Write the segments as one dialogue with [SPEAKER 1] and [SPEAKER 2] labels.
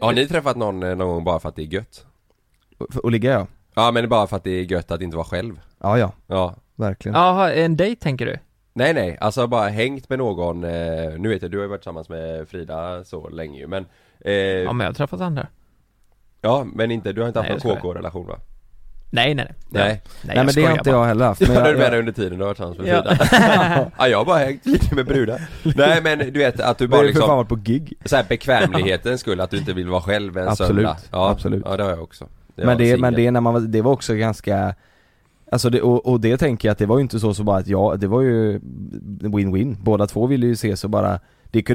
[SPEAKER 1] Har ni träffat någon eh, någon gång bara för att det är gött?
[SPEAKER 2] För att ligga ja.
[SPEAKER 1] Ja men bara för att det är gött att inte vara själv
[SPEAKER 2] Ja, ja.
[SPEAKER 1] Ja
[SPEAKER 2] Verkligen.
[SPEAKER 3] Jaha, en dejt tänker du?
[SPEAKER 1] Nej nej, alltså bara hängt med någon, eh, nu vet jag du har ju varit tillsammans med Frida så länge ju men eh,
[SPEAKER 3] Ja men jag har träffat andra.
[SPEAKER 1] Ja men inte, du har inte haft
[SPEAKER 3] Nej,
[SPEAKER 1] någon
[SPEAKER 3] jag skojar.
[SPEAKER 1] KK-relation va?
[SPEAKER 3] Nej nej nej.
[SPEAKER 1] Nej,
[SPEAKER 3] nej,
[SPEAKER 2] Nej men det har
[SPEAKER 3] skojar
[SPEAKER 2] inte
[SPEAKER 3] bara.
[SPEAKER 2] jag heller haft.
[SPEAKER 1] du
[SPEAKER 2] Men
[SPEAKER 1] har
[SPEAKER 2] jag,
[SPEAKER 1] med dig
[SPEAKER 2] jag,
[SPEAKER 1] under tiden du har varit tillsammans med
[SPEAKER 3] Ja.
[SPEAKER 1] Frida Ja jag har bara hängt lite med brudar Nej men du vet att du
[SPEAKER 2] jag
[SPEAKER 1] bara
[SPEAKER 2] har ju för fan
[SPEAKER 1] liksom,
[SPEAKER 2] varit på gig.
[SPEAKER 1] så här bekvämlighetens skull att du inte vill vara själv en
[SPEAKER 2] Absolut.
[SPEAKER 1] söndag ja,
[SPEAKER 2] Absolut.
[SPEAKER 1] Ja det har jag också Jag
[SPEAKER 2] men,
[SPEAKER 1] var
[SPEAKER 2] det, men
[SPEAKER 1] singel.
[SPEAKER 2] det, när man, var- det var också ganska Alltså det, och, och det tänker jag att det var ju inte så så bara att jag, det var ju win-win. Båda två ville ju ses och bara, det kunde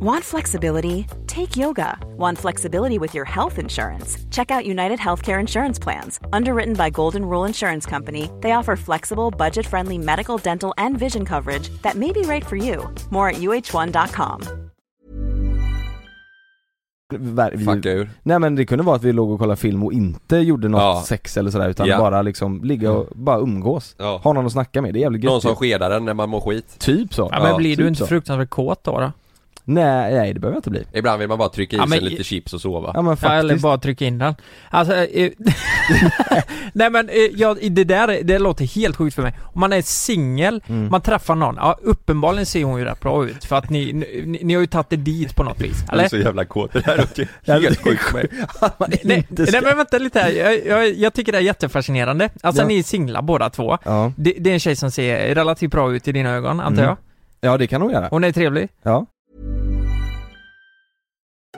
[SPEAKER 4] Want flexibility? Take yoga. Want flexibility with your health insurance? Check out United Healthcare Insurance Plans. Underwritten by Golden Rule Insurance Company, they offer flexible, budget friendly medical, dental, and vision coverage that may be right for you. More at uh1.com.
[SPEAKER 2] ver- vi,
[SPEAKER 1] Fucka ur
[SPEAKER 2] Nej men det kunde vara att vi låg och kollade film och inte gjorde något
[SPEAKER 1] Ja.
[SPEAKER 2] sex eller sådär utan
[SPEAKER 1] Ja.
[SPEAKER 2] bara liksom ligga och bara umgås.
[SPEAKER 1] Ja.
[SPEAKER 2] Ha någon att snacka med, det är jävligt
[SPEAKER 1] Någon
[SPEAKER 2] gött
[SPEAKER 1] som
[SPEAKER 2] ju.
[SPEAKER 1] skedar den när man mår skit
[SPEAKER 2] Typ så.
[SPEAKER 3] Ja, men
[SPEAKER 1] Ja,
[SPEAKER 3] blir
[SPEAKER 2] typ
[SPEAKER 3] du inte
[SPEAKER 2] så.
[SPEAKER 3] fruktansvärt kåt då? då?
[SPEAKER 2] Nej, nej det behöver jag inte bli.
[SPEAKER 1] Ibland vill man bara trycka i
[SPEAKER 3] Ja,
[SPEAKER 1] sig
[SPEAKER 3] men-
[SPEAKER 1] lite chips och sova
[SPEAKER 2] Ja men
[SPEAKER 3] Ja, eller
[SPEAKER 2] faktiskt.
[SPEAKER 3] bara trycka in den. Alltså, eh, nej men eh, ja, det där det låter helt sjukt för mig. Om man är singel,
[SPEAKER 2] Mm.
[SPEAKER 3] man träffar någon, ja uppenbarligen ser hon ju rätt bra ut för att ni, ni, ni har ju tagit det dit på något vis,
[SPEAKER 1] Jag är
[SPEAKER 3] eller?
[SPEAKER 1] så jävla kåt, det här låter helt sjukt för mig
[SPEAKER 3] Nej,
[SPEAKER 2] inte ska-
[SPEAKER 3] nej men vänta lite här, jag, jag, jag tycker det är jättefascinerande. Alltså
[SPEAKER 2] Ja.
[SPEAKER 3] ni är singlar båda två.
[SPEAKER 2] Ja.
[SPEAKER 3] Det, det är en tjej som ser relativt bra ut i dina ögon, antar
[SPEAKER 2] Mm.
[SPEAKER 3] jag.
[SPEAKER 2] ja det kan hon göra.
[SPEAKER 3] Hon är trevlig.
[SPEAKER 2] Ja.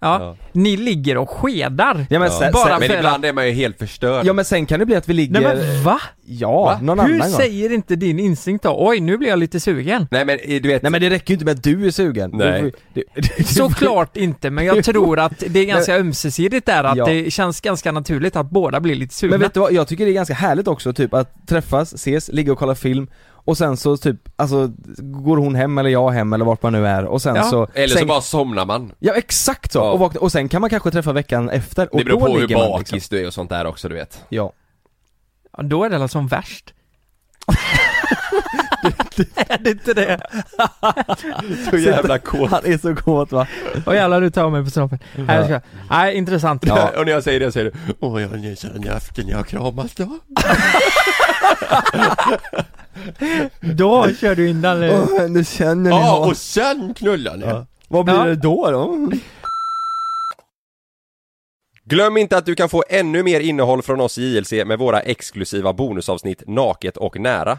[SPEAKER 3] Ja.
[SPEAKER 1] Ja.
[SPEAKER 3] Ni ligger och skedar.
[SPEAKER 2] Ja men, sen,
[SPEAKER 3] Bara
[SPEAKER 2] sen,
[SPEAKER 1] Men
[SPEAKER 3] för-
[SPEAKER 1] ibland är man ju helt förstörd
[SPEAKER 2] ja, men sen kan det bli att vi ligger...
[SPEAKER 3] Nej men va?
[SPEAKER 2] Ja,
[SPEAKER 1] Va?
[SPEAKER 2] någon
[SPEAKER 3] Hur
[SPEAKER 2] annan gång.
[SPEAKER 3] säger inte din instinkt då? Oj, nu blir jag lite sugen.
[SPEAKER 1] Nej men eh, du vet,
[SPEAKER 2] Nej men det räcker ju inte med att du är sugen.
[SPEAKER 1] Nej.
[SPEAKER 2] Du får- du- du-
[SPEAKER 3] Såklart inte, men jag tror att det är ganska ömsesidigt där, att
[SPEAKER 2] Ja.
[SPEAKER 3] det känns ganska naturligt att båda blir lite sugna.
[SPEAKER 2] Men vet du vad, jag tycker det är ganska härligt också typ att träffas, ses, ligga och kolla film och sen så typ, alltså går hon hem eller jag hem eller vart man nu är och sen
[SPEAKER 3] Ja.
[SPEAKER 2] så...
[SPEAKER 1] eller så
[SPEAKER 2] sen,
[SPEAKER 1] bara somnar man
[SPEAKER 2] Ja exakt så!
[SPEAKER 1] Ja.
[SPEAKER 2] Och, vakna, och sen kan man kanske träffa veckan efter och
[SPEAKER 1] Det beror
[SPEAKER 2] då
[SPEAKER 1] på hur
[SPEAKER 2] ligger man
[SPEAKER 1] bakis
[SPEAKER 2] liksom.
[SPEAKER 1] du är och sånt där också du vet
[SPEAKER 2] Ja.
[SPEAKER 3] Ja, Då är det alla som värst. är det inte det?
[SPEAKER 1] Så jävla kåt
[SPEAKER 2] Han är så kåt va?
[SPEAKER 3] Åh jävlar, du tar mig på snoppen. Nej, jag ska... Nej, intressant.
[SPEAKER 1] Ja. Och när jag säger det så säger du Åh jag har en sån afton jag har kramat då
[SPEAKER 3] Då kör du in den. eller?
[SPEAKER 2] Åh, nu känner ni
[SPEAKER 1] Ja
[SPEAKER 2] honom.
[SPEAKER 1] och sen knullar ni
[SPEAKER 2] Ja. Vad blir
[SPEAKER 3] Ja.
[SPEAKER 2] det då då?
[SPEAKER 1] Glöm inte att du kan få ännu mer innehåll från oss i JLC med våra exklusiva bonusavsnitt Naket och nära.